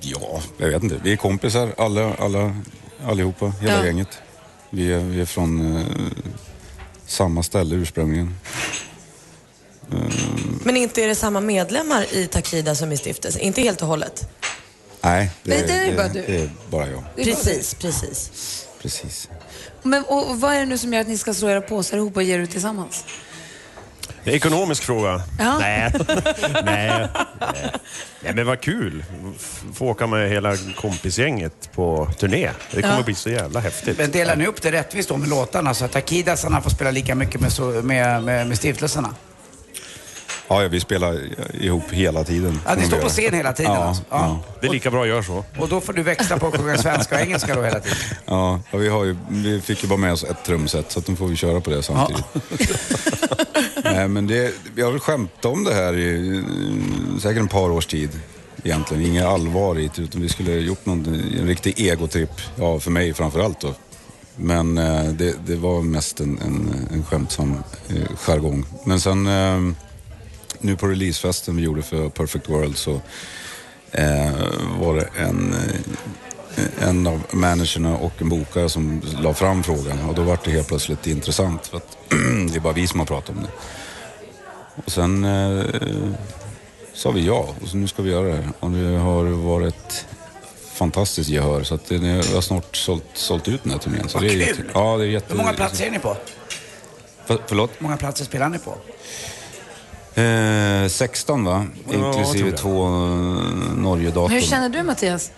S12: Ja, jag vet inte. Vi är kompisar alla, alla, allihopa, hela
S2: Ja.
S12: gänget. Vi är, vi är från eh, samma ställe ursprungligen.
S4: Men inte är det samma medlemmar i Takida som i stiftelsen? Inte helt och hållet?
S12: Nej,
S2: Men det är bara du.
S12: det är bara jag.
S4: Precis, precis.
S12: Precis.
S2: Men, och, och vad är det nu som gör att ni ska slå era påsar ihop och ge er ut tillsammans?
S11: Det är en ekonomisk fråga.
S2: Ja.
S11: Nej. Nej. Nej. Nej, men vad kul. F- Få åka med hela kompisgänget på turné. Det kommer
S3: Ja.
S11: bli så jävla häftigt.
S3: Men delar ni upp det rättvist då med låtarna så att Akidasarna får spela lika mycket med, so- med, med, med stiftelserna?
S12: Ja, ja, vi spelar ihop hela tiden.
S3: Ja, ni står på scen hela tiden
S12: ja,
S3: alltså. Ja.
S11: Det är lika bra att göra så.
S3: Och då får du växla på att sjunga svenska och engelska då hela tiden.
S12: Ja, ja, vi, har ju, vi fick ju bara med oss ett trumset så att de får vi köra på det samtidigt. Nej, men det, vi har väl skämt om det här i eh, säkert ett par års tid egentligen. Inget allvar i det, utan vi skulle ha gjort någon, en riktig egotripp. Ja, för mig framförallt då. Men eh, det, det var mest en, en, en skämtsam eh, jargong. Men sen eh, nu på releasefesten vi gjorde för Perfect World så eh, var det en eh, en av managerna och en bokare som la fram frågan och då var det helt plötsligt intressant för att det är bara vi som har pratat om det. Och sen eh, sa vi ja och så nu ska vi göra det här. och det har varit fantastiskt gehör så att det, jag har snart sålt, sålt ut den här turnén. Så
S3: Vad
S12: det är
S3: kul!
S12: jätte- ja, det är jätte,
S3: Hur många platser är ni på?
S12: För, förlåt?
S3: Hur många platser spelar ni på?
S12: Eh, 16 va?
S3: Ja, jag tror
S12: Inklusive
S3: det.
S12: två eh, Norge-datum.
S2: Hur känner du Mattias?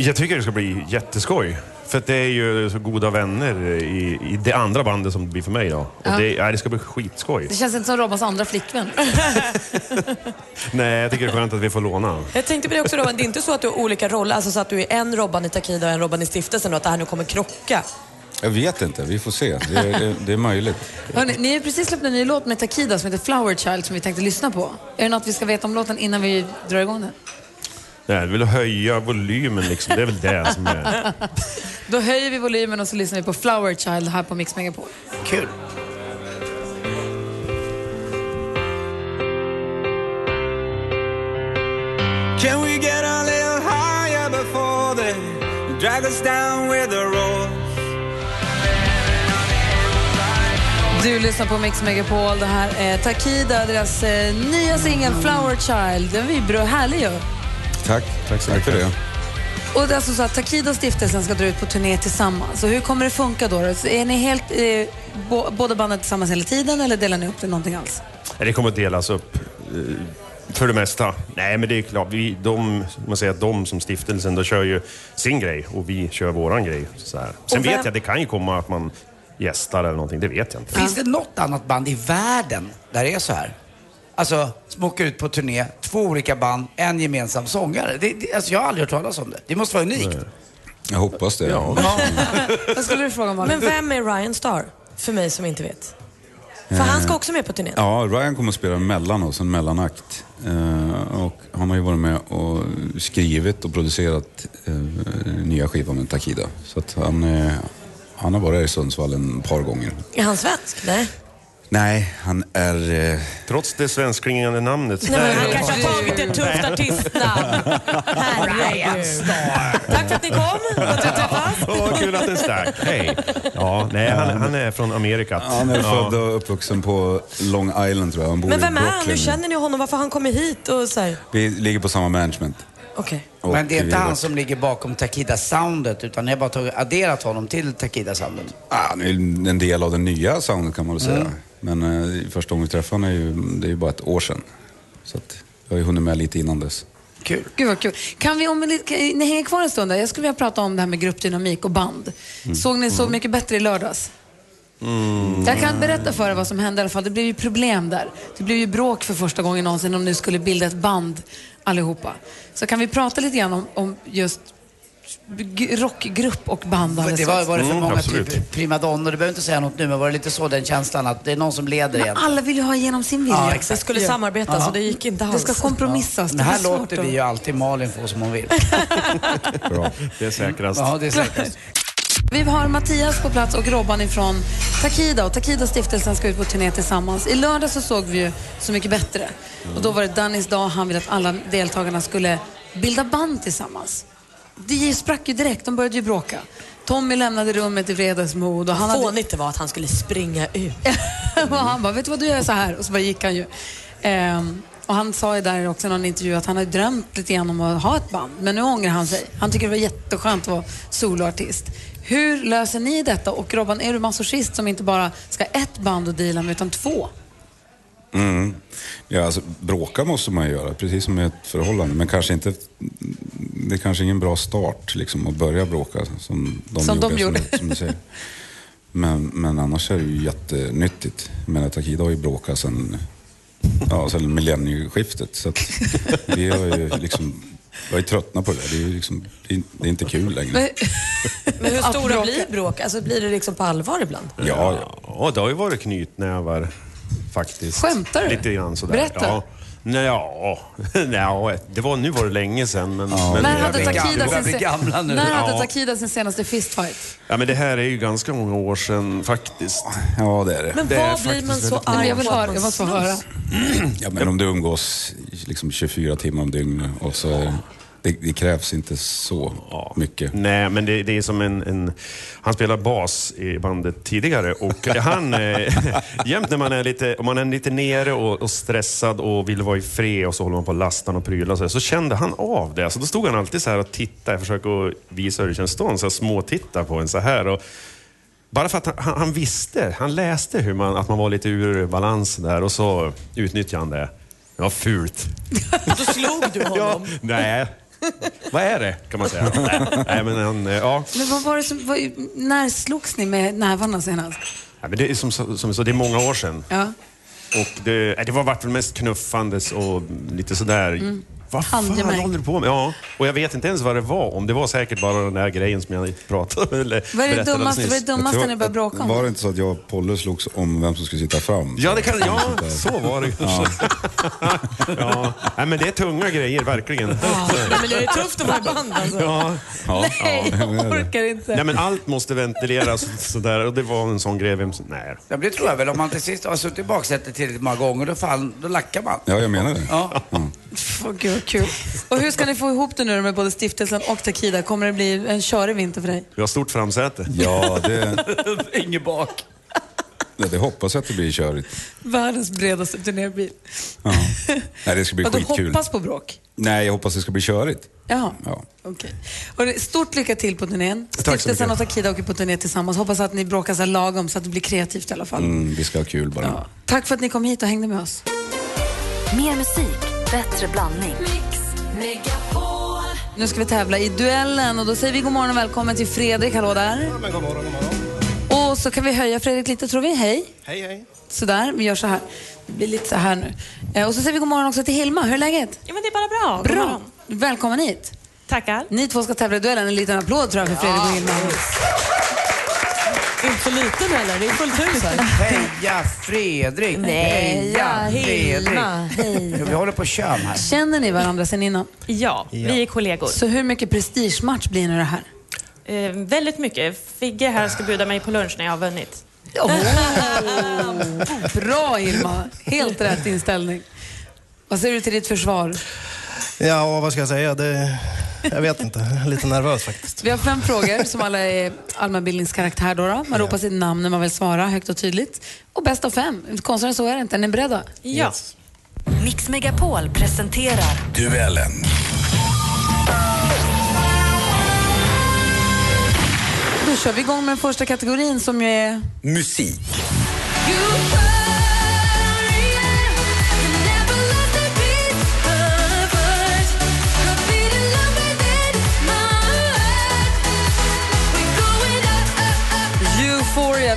S11: Jag tycker det ska bli jätteskoj. För att det är ju så goda vänner i, i det andra bandet som det blir för mig då. Och
S2: Ja.
S11: det, ja, det ska bli skitskoj.
S2: Det känns inte som Robbans andra flickvän.
S11: Nej, jag tycker det är skönt att vi får låna.
S4: Jag tänkte på det också Robban, det är inte så att du har olika roller, alltså så att du är en Robban i Takida och en Robban i stiftelsen och att det här nu kommer krocka?
S12: Jag vet inte, vi får se. Det, är- det, det är möjligt.
S2: Hörrni, ni har ju precis släppt en ny låt med Takida som heter Flower Child som vi tänkte lyssna på. Är det något vi ska veta om låten innan vi drar igång den?
S11: Nej, vi vill höja volymen liksom. Det är väl det som är...
S2: Då höjer vi volymen och så lyssnar vi på Flower Child här på Mix Megapol.
S3: Kul!
S14: Can we get a little higher before they drag us down with a roar?
S2: Du lyssnar på Mix Megapol. Det här är Takida, deras eh, nya singel Flower Child. Den är bra, härlig ju.
S12: Tack. Tack så mycket för det.
S2: Och det är alltså så att Takida och stiftelsen ska dra ut på turné tillsammans. Så hur kommer det funka då? Så Är ni helt, eh, bo, båda banden tillsammans hela tiden eller delar ni upp det någonting alls?
S11: Nej, Det kommer att delas upp eh, för det mesta. Nej, men det är klart. Vi, de, man säger att de som stiftelsen, de kör ju sin grej och vi kör våran grej. Så här. Sen
S3: Och vem-
S11: vet jag, det kan ju komma att man gästar eller någonting. Det vet jag inte.
S3: Finns det något annat band i världen där det är så här? Alltså, som åker ut på turné, två olika band, en gemensam sångare. Det, det, alltså, jag har aldrig hört talas om det. Det måste vara unikt.
S12: Jag hoppas det.
S2: Vad skulle du fråga om?
S4: Men vem är Ryan Starr? För mig som inte vet. För han ska också med på turnén.
S12: Ja, Ryan kommer att spela mellan oss, en mellanakt. Eh, och han har ju varit med och skrivit och producerat eh, nya skivan med Takida. Så att han, eh, han har varit här i Sundsvall en par gånger.
S4: Är han svensk? Nej.
S12: Nej, han är... Eh...
S11: Trots det svensklingande namnet. så
S4: Nej, men
S11: där-
S4: han kanske har tagit ett tufft artistnamn. Herregud. Tack för att ni kom. Att du träffas.
S11: Åh, vad kul att det är starkt. Hej. Ja, nej, han, han är från Amerika.
S12: Han är
S11: Ja.
S12: född och uppvuxen på Long Island tror jag. Han bor
S4: Men
S12: i
S4: vem är
S12: Brooklyn.
S4: han? Hur känner ni honom? Varför har han kommit hit? Och så här?
S12: Vi ligger på samma management.
S4: Okej.
S12: Och
S3: Men det är
S12: vi
S3: inte
S12: har-
S3: han som ligger bakom Takida-soundet, utan ni har bara tagit, adderat honom till Takida-soundet.
S12: Ah, Han är ju en del av den nya soundet kan man väl säga.
S3: Mm.
S12: Men eh, första gången vi träffade honom är ju, det är ju bara ett år sedan. Så att jag har ju hunnit med lite innan dess.
S3: Kul.
S2: Gud vad kul. Kan vi, om en, li- kan, ni hänger kvar en stund där. Jag skulle vilja prata om det här med gruppdynamik och band.
S11: Mm.
S2: Såg ni Så mycket bättre i lördags?
S11: Mm.
S2: Jag kan berätta för er vad som hände i alla fall. Det blev ju problem där. Det blev ju bråk för första gången någonsin om nu skulle bilda ett band allihopa. Så kan vi prata lite grann om, om just g- rockgrupp och band alldeles
S3: Det var,
S2: strax.
S3: var det
S12: Mm,
S3: för många pri, primadonnor, du behöver inte säga något nu, men var det lite så den känslan att det är någon som leder
S2: Men
S3: igen?
S2: alla vill ju ha igenom sin vilja.
S3: Ja, exakt. Vi skulle samarbeta, så det
S2: gick inte alls. Det ska kompromissas.
S3: Det här
S2: var svårt
S3: låter
S2: att-
S3: vi ju alltid Malin få som hon vill.
S11: Bra. Det är säkrast.
S3: Ja, det är säkrast.
S2: Vi har Mattias på plats och Robban ifrån Takida och Takida stiftelsen ska ut på turné tillsammans. I lördag så såg vi ju Så mycket bättre och då var det Dannys dag. Han ville att alla deltagarna skulle bilda band tillsammans. Det sprack ju direkt, de började ju bråka. Tommy lämnade rummet i vredesmod och han hade...
S4: Fånigt det var att han skulle springa ut.
S2: och han bara, vet du vad du gör så här? Och så bara gick han ju. Ehm, och han sa ju där också i någon intervju att han har ju drömt lite grann om att ha ett band. Men nu ångrar han sig. Han tycker det var jätteskönt att vara soloartist. Hur löser ni detta? Och Robban, är du masochist som inte bara ska ha ett band att deala med utan två?
S12: Mm. Ja, alltså, bråka måste man ju göra, precis som i ett förhållande. Men kanske inte, det är kanske ingen bra start liksom, att börja bråka som de
S2: Som de
S12: gjorde.
S2: gjorde.
S12: Som, du- som du säger. Men, men annars är det ju jättenyttigt. Men Takida har ju bråkat sedan ja, sen millennieskiftet. Så att vi har ju liksom, vi har ju tröttnat på det där. Det är ju liksom, det är, det är inte kul längre.
S4: Men hur stora blir bråk? Alltså blir det liksom på allvar ibland?
S11: Ja, ja. det har ju varit knytnävar faktiskt.
S4: Skämtar du?
S11: Lite grann sådär.
S4: Berätta.
S11: Ja. Nej, ja. Nej, det var, nu var det länge sedan. Men, men
S2: När hade,
S11: Det
S2: Takida
S11: var-
S2: sin, se- när hade
S11: Ja.
S2: Takida sin senaste fistfight?
S11: Ja, men det här är ju ganska många år sedan faktiskt.
S12: Ja, det är det.
S2: Men
S11: det är
S2: vad blir
S11: faktiskt
S2: man så
S11: väldigt-
S2: arg? Nej, men jag vill höra, jag måste få höra.
S12: Ja, men om du umgås liksom 24 timmar om dygnet och så är det- det, det krävs inte så mycket.
S11: Nej, men det, det är som en, en... Han spelar bas i bandet tidigare och han... Eh, jämt när man är lite, om man är lite nere och, och stressad och vill vara i fred och så håller man på och lastar och prylar och så, här, så kände han av det. Så då stod han alltid så här och tittade. Jag försöker att visa hur det känns. Stod han så här småtitta på en så här. Och, bara för att han, han, han visste, han läste hur man, att man var lite ur balans där och så utnyttjade han det. Det var fult.
S4: Då slog du honom.
S11: Nej. Vad är det, kan man säga. Nej, nej men han... eh, Ja.
S2: Men vad var det som, vad, när slogs ni med nävarna senast?
S11: Ja, men det är som, som jag sa, det är många år sedan.
S2: Ja.
S11: Och det, nej, det var vart väl mest knuffandes och lite sådär.
S2: Mm.
S11: Vad fan
S2: Handgemäng.
S11: håller du på med? Ja, och jag vet inte ens vad det var om. Det var säkert bara den där grejen som jag pratade om. Eller
S2: Vad är det
S11: berättade alldeles
S2: dummaste-
S11: nyss.
S2: vad är det dummaste
S12: Jag tror
S2: ni började
S12: att-
S2: bråka om?
S12: Var det inte så att jag och Polle slogs om vem som skulle sitta fram?
S11: Ja, det kan, ja,
S12: Sånt där.
S11: så var det
S12: Ja.
S11: kanske. ja. Nej, men det är tunga grejer, verkligen.
S4: Nej, men jag är tufft att vara i band alltså.
S11: Ja.
S4: Nej, jag orkar inte.
S11: Nej, men allt måste ventileras sådär. Och det var en sån grej. Vem som, nej.
S3: Ja, men det tror jag väl. Om man till sist har suttit i baksätet tillräckligt många gånger, då, fan, då lackar man.
S12: Ja, jag menar det.
S3: Ja.
S2: Åh, gud vad kul. Och hur ska ni få ihop det nu med både stiftelsen och Takida? Kommer det bli en körig vinter för dig?
S11: Vi har stort framsäte.
S12: Ja, det,
S3: Inget bak.
S12: ja, det hoppas jag att det blir körigt.
S2: Världens bredaste turnébil.
S12: Ja. Nej, det ska bli
S2: Och du
S12: skitkul.
S2: hoppas på bråk?
S12: Nej, jag hoppas det ska bli körigt.
S2: Jaha,
S12: Ja.
S2: okej. Hörrni, Stort lycka till på turnén.
S12: så mycket.
S2: Stiftelsen och Takida åker på turné tillsammans. Hoppas att ni bråkar så här lagom så att det blir kreativt i alla fall.
S12: Mm, vi ska ha kul bara.
S2: Tack för att ni kom hit och hängde med oss.
S6: Mer musik, bättre blandning.
S2: Nu ska vi tävla i duellen och då säger vi god morgon och välkommen till Fredrik. Hallå där.
S15: Men god morgon, god morgon.
S2: Och så kan vi höja Fredrik lite tror vi. Hej.
S15: Hej, hej.
S2: Sådär, vi gör så här. Det blir lite så här nu. Eh, Och så säger vi god morgon också till Hilma. Hur är läget?
S16: Ja, men det är bara bra. God
S2: Bra.
S16: morgon.
S2: Välkommen hit.
S16: Tackar.
S2: Ni två ska tävla i duellen. En liten applåd tror jag för Fredrik och Hilma.
S4: Inte så liten heller, det är fullt hus här.
S3: Heja Fredrik! Heja Fredrik! Jo, Vi håller på att köra här.
S2: Känner ni varandra sen innan?
S16: Ja, vi är kollegor.
S2: Så hur mycket prestigematch blir nu det här?
S16: Eh, väldigt mycket. Figge här ska bjuda mig på lunch när jag har vunnit.
S2: Oh. Bra Hilma! Helt rätt inställning. Vad säger du till ditt försvar?
S15: Ja, vad ska jag säga? Det, jag vet inte. Lite nervös faktiskt.
S2: Vi har fem frågor som alla är allmänbildningskaraktär. Då då. Man ropar sitt namn när man vill svara högt och tydligt. Och bäst av fem. Konstigare än så är det inte. Är ni beredda?
S6: Ja. Mix Megapol presenterar
S12: Duellen.
S2: Då kör vi igång med den första kategorin som ju är...
S17: Musik.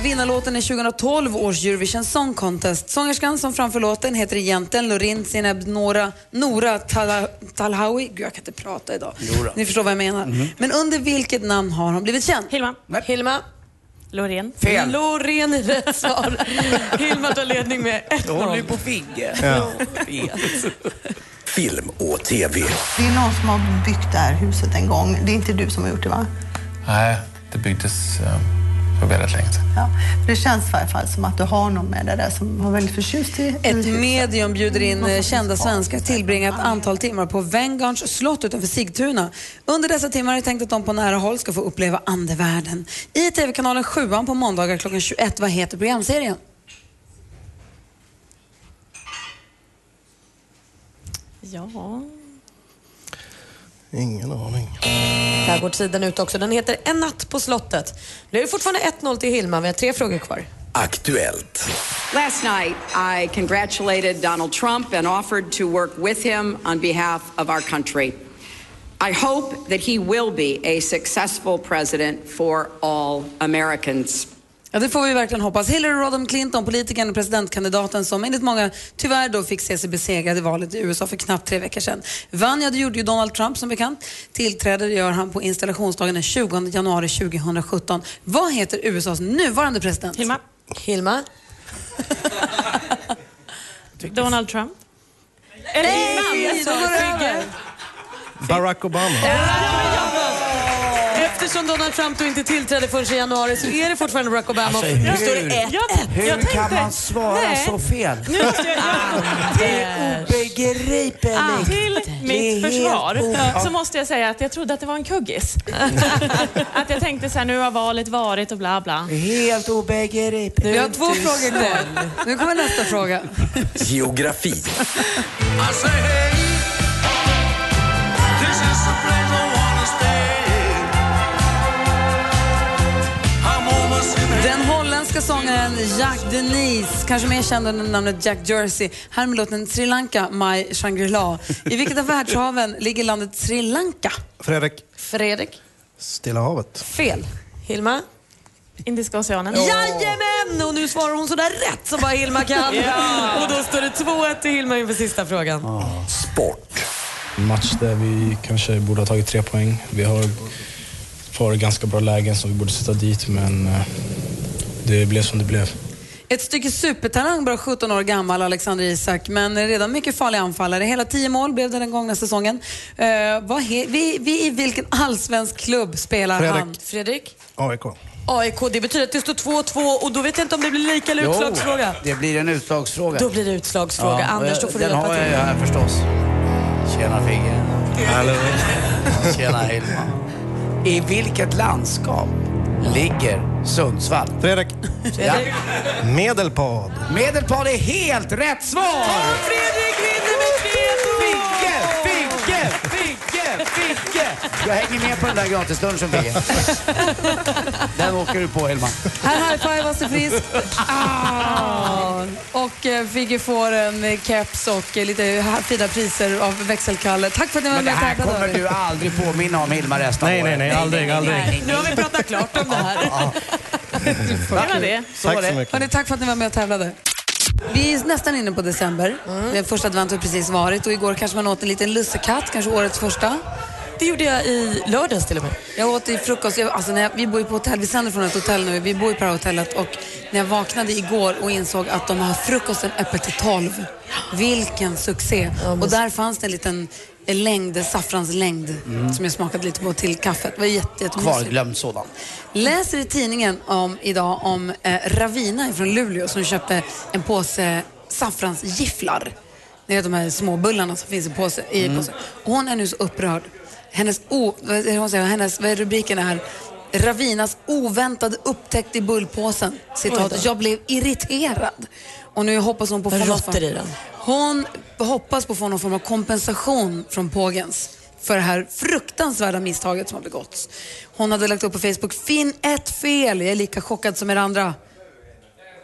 S2: Vinnarlåten är 2012 års Eurovision Song Contest. Sångerskan som framför låten heter egentligen Lorin Zineb Nora, Nora Tala, Talhawi. Gud, jag kan inte prata idag.
S5: Jo då.
S2: Ni förstår vad jag menar.
S5: Mhm.
S2: Men under vilket namn har hon blivit känd? Hilma.
S4: Hilma.
S16: Loreen.
S3: Fel.
S4: Loreen är rätt svar. Hilma tar ledning med 1-0.
S3: Du håller ju på Figge.
S4: Ja.
S17: Film och TV.
S18: Det är någon som har byggt det här huset en gång. Det är inte du som har gjort det va?
S17: Nej, det byggdes eh, för väldigt länge sedan.
S18: Ja. Det känns i varje fall som att du har någon med dig där som var väldigt förtjust i
S2: Ett medium bjuder in eh, kända svenskar att tillbringa ett antal timmar på Vengarns slott utanför Sigtuna. Under dessa timmar är det tänkt att de på nära håll ska få uppleva andevärlden. I TV-kanalen 7 på måndagar klockan 21. Vad heter programserien?
S16: Ja.
S15: Ingen aning.
S4: Där går tiden ut också. Den heter En natt på slottet. Nu är det fortfarande 1-0 till Hilma. Vi har tre frågor kvar.
S17: Aktuellt.
S19: Last night, I congratulated Donald Trump and offered to work with him on behalf of our country. I hope that he will be a successful president for all Americans.
S2: Ja, det får vi verkligen hoppas. Hillary Rodham Clinton, politikern och presidentkandidaten som enligt många tyvärr då fick se sig besegrad i valet i USA för knappt tre veckor sedan. Vann, ja det gjorde ju Donald Trump som bekant. Tillträder gör han på installationsdagen den 20 januari 2017. Vad heter USAs nuvarande president? Hilma.
S4: Hilma.
S16: Donald Trump. Eller
S4: Nej,
S16: Hilma,
S4: då
S16: sa
S4: var det
S16: Sigge.
S15: Barack Obama.
S4: Eftersom Donald Trump då inte tillträdde förrän i januari så är det fortfarande Barack Obama.
S3: Alltså,
S4: nu
S3: hur-
S4: står det 1-1.
S3: Hur
S4: Jag tänkte-
S3: kan man svara
S4: Nej.
S3: så fel?
S4: Nu måste jag-
S3: det är obegripligt.
S16: Ah, till
S3: Det är
S16: mitt
S3: helt
S16: försvar
S19: Oh.
S3: obegripligt.
S16: så måste jag säga att jag trodde att det var en kuggis. att jag tänkte så här, nu har valet varit och bla bla.
S3: Helt obegripligt.
S2: Vi har två frågor kvar. Nu kommer nästa fråga.
S17: Geografi.
S2: Den holländska sångaren Jack Denise, kanske mer känd under namnet Jack Jersey, här med låten Sri Lanka, My Shangri-La. I vilket av världshaven ligger landet Sri Lanka?
S15: Fredrik.
S4: Fredrik.
S15: Stilla havet.
S4: Fel. Hilma?
S16: Indiska oceanen.
S4: Jajamän! Och nu svarar hon sådär rätt som bara Hilma kan.
S16: Ja.
S4: Och då står det 2-1 till Hilma inför sista frågan.
S20: En match där vi kanske borde ha tagit tre poäng. Vi har ett par ganska bra lägen som vi borde sätta dit, men eh, det blev som det blev.
S2: Ett stycke supertalang, bara 17 år gammal, Alexander Isak, men är redan mycket farlig anfallare. Hela 10 mål blev det den gångna säsongen. Eh, vad he- vi, vi, I vilken allsvensk klubb spelar han?
S4: Fredrik?
S15: AIK.
S4: AIK, det betyder att det står 2-2 och då vet jag inte om det blir lika eller
S3: Jo,
S4: utslagsfråga.
S3: Det blir en utslagsfråga.
S4: Då blir det utslagsfråga.
S3: Ja,
S4: Anders, då
S3: eh,
S4: får du
S3: Den
S4: hjälpa
S3: har jag ju
S4: till.
S3: här förstås. Tjena Figge.
S20: Hallå.
S3: Tjena Hilma. I vilket landskap ligger Sundsvall?
S15: Fredrik.
S3: Ja.
S15: Medelpad.
S3: Medelpad är helt rätt svar! Och
S4: Fredrik vinner med 3-2!
S3: Figge, Figge, Figge, Figge! Jag hänger med på den där gratislunchen Figge. Den åker du på Hilma.
S2: Här high-fivar sig friskt. Ah! Och eh, Figge får en eh, keps och eh, lite ha- fina priser av växelkalle. Tack för att ni var
S3: Men det
S2: med och
S3: här
S2: tävlade.
S3: kommer
S2: hörni.
S3: du aldrig påminna om Hilma resten
S15: Nej,
S3: av
S15: nej,
S3: året.
S15: nej, aldrig, aldrig.
S4: Nu har vi pratat klart om det här.
S2: Det
S3: var det.
S15: Så Tack var så det. mycket.
S2: Hörni, tack för att ni var med och tävlade. Vi är nästan inne på december.
S3: Mm.
S2: Den första advent har precis varit och igår kanske man åt en liten lussekatt, kanske årets första.
S4: Det gjorde jag i lördags till och med.
S2: Jag åt i frukost. Jag, alltså när jag, vi bor ju på hotell, vi sänder från ett hotell nu. Vi bor ju på det här hotellet och när jag vaknade igår och insåg att de har frukosten öppet till 12. Vilken succé! och där fanns det en liten längd, saffranslängd som jag smakade lite på till kaffet. Det var jätte, jättemysigt.
S3: Kvarglömd sådan.
S2: Läser i tidningen om, idag om eh, Ravina från Luleå som köpte en påse saffransgifflar. Det är de här små bullarna som finns i påse. I
S5: Mm.
S2: påse. Och hon är nu så upprörd. Hennes, o, vad är det hon säger? Hennes, vad är rubriken här? Ravinas oväntade upptäckt i bullpåsen.
S4: Oj
S2: Citat,
S4: då.
S2: jag blev irriterad. Och nu hoppas hon på att få någon
S4: Råttor
S2: form-
S4: i den.
S2: Hon hoppas på att få någon form av kompensation från Pågens för det här fruktansvärda misstaget som har begåtts. Hon hade lagt upp på Facebook, finn ett fel, jag är lika chockad som er andra.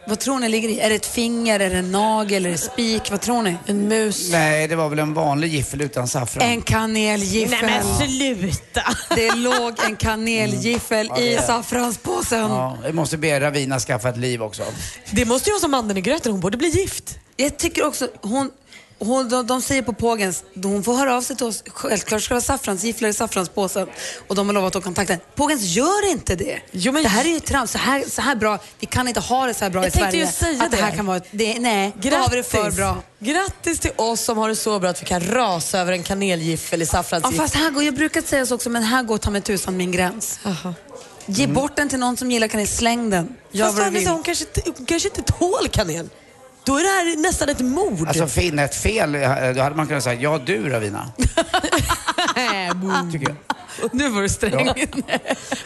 S2: Vad tror ni ligger i? Är det ett finger, är det en nagel, är det spik? Vad tror ni? En mus?
S3: Nej, det var väl en vanlig giffel utan saffran.
S2: En kanelgiffel.
S3: Nej, men
S2: sluta! Det låg en kanelgiffel
S3: Ja, det
S2: i
S3: är-
S2: saffranspåsen.
S3: Ja, jag måste be Ravina skaffa ett liv också.
S2: Det måste ju vara som anden i gröten, hon borde bli gift. Jag tycker också, hon, hon, de, de säger på Pågens, hon får höra av sig till oss. Självklart ska det vara saffransgifflar i saffranspåsen. Och de har lovat att kontakta henne. Pågens, gör inte det! Det här är ju trams. Så här, så här bra, vi kan inte ha det så här bra
S4: Jag
S2: i
S4: tänkte
S2: Sverige.
S4: ju säga
S2: att det. här kan vara, ett- det, nej, då har vi det för bra.
S4: Grattis till oss som har det så bra att vi kan rasa över en kanelgiffel i
S2: Ja,
S4: saffransgiffel.
S2: fast här går, jag brukar säga så också, men här går ta mig tusan min gräns. Ge
S4: Mm.
S2: bort den till någon som gillar kanel, släng den. Gör
S4: Fast
S2: vad du
S4: Agnes,
S2: vill.
S4: hon kanske, inte- hon kanske inte tål kanel. Då är det här nästan ett mord.
S3: Alltså finna ett fel, eh, då hade man kunnat säga, ja du Ravina. Tycker jag.
S4: nu var du
S3: sträng.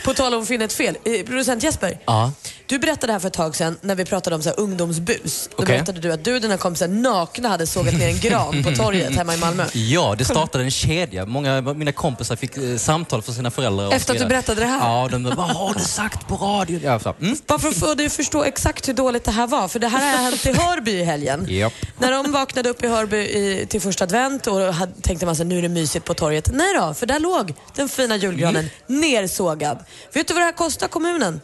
S4: På tal om att finna ett fel. Eh, producent Jesper,
S8: Ja.
S4: du berättade här för ett tag sedan när vi pratade om så här ungdomsbus. Då
S8: Okej.
S4: berättade du att du och dina kompisar nakna hade sågat ner en gran på torget hemma i Malmö.
S21: Ja, det startade en kedja. Många av mina kompisar fick eh, samtal från sina föräldrar. och
S4: Efter
S21: så
S4: att du
S21: vidare.
S4: berättade det här?
S21: Ja, de bara, vad har du sagt på radion? Ja, så, mm.
S4: Bara för att få dig att förstå exakt hur dåligt det här var. För det här har hänt i Hörby i helgen.
S21: Japp.
S4: När de vaknade upp i Hörby i, till första advent och hade, tänkte man så här, nu är det mysigt på torget. Nej då, för där låg den fina julgranen nersågad. Vet du vad det här kostar kommunen?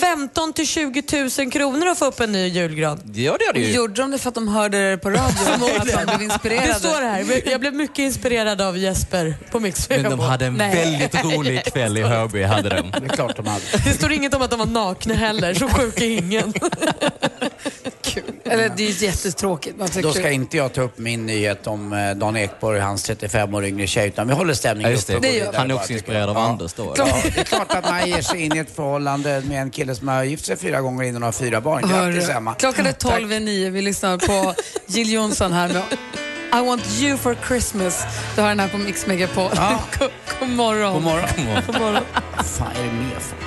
S4: 15 till 20 000 kronor att få upp en ny julgran.
S21: Ja, det gör det ju.
S2: Gjorde de det för att de hörde det på radio? Förmodligen. Att de blev inspirerade.
S4: Det står här. Jag blev mycket inspirerad av Jesper på Mix
S21: Men de
S4: Megapol.
S21: hade en
S4: Nej.
S21: väldigt rolig kväll i Hörby. Hade de. Det är
S3: klart de hade.
S4: Det står inget om att de var nakna heller, så sjuk är ingen.
S2: Eller det är ju jättetråkigt. Man
S3: Då
S2: tycker-
S3: ska inte jag ta upp min nyhet om eh, Dan Ekborg och hans 35 år yngre tjej, utan vi håller stämningen
S21: Ja, just det.
S3: uppe och går
S21: Det gör
S3: vidare
S21: vi. Han är
S3: bara,
S21: också
S3: tycker
S21: inspirerad av
S3: jag. Ja.
S21: Anders då, eller?
S3: Klart, det är klart att man ger sig in i ett förhållande med en kille som har gift sig fyra gånger innan och har fyra barn. Grattis Emma.
S2: Klockan är 12 i 9. Vi lyssnar på Jill Johnson här med I want you for Christmas. Du har den här på Mix Megapol.
S3: Ja.
S2: God, god morgon.
S3: God morgon.
S2: God morgon.
S3: Vad fan är det mer för?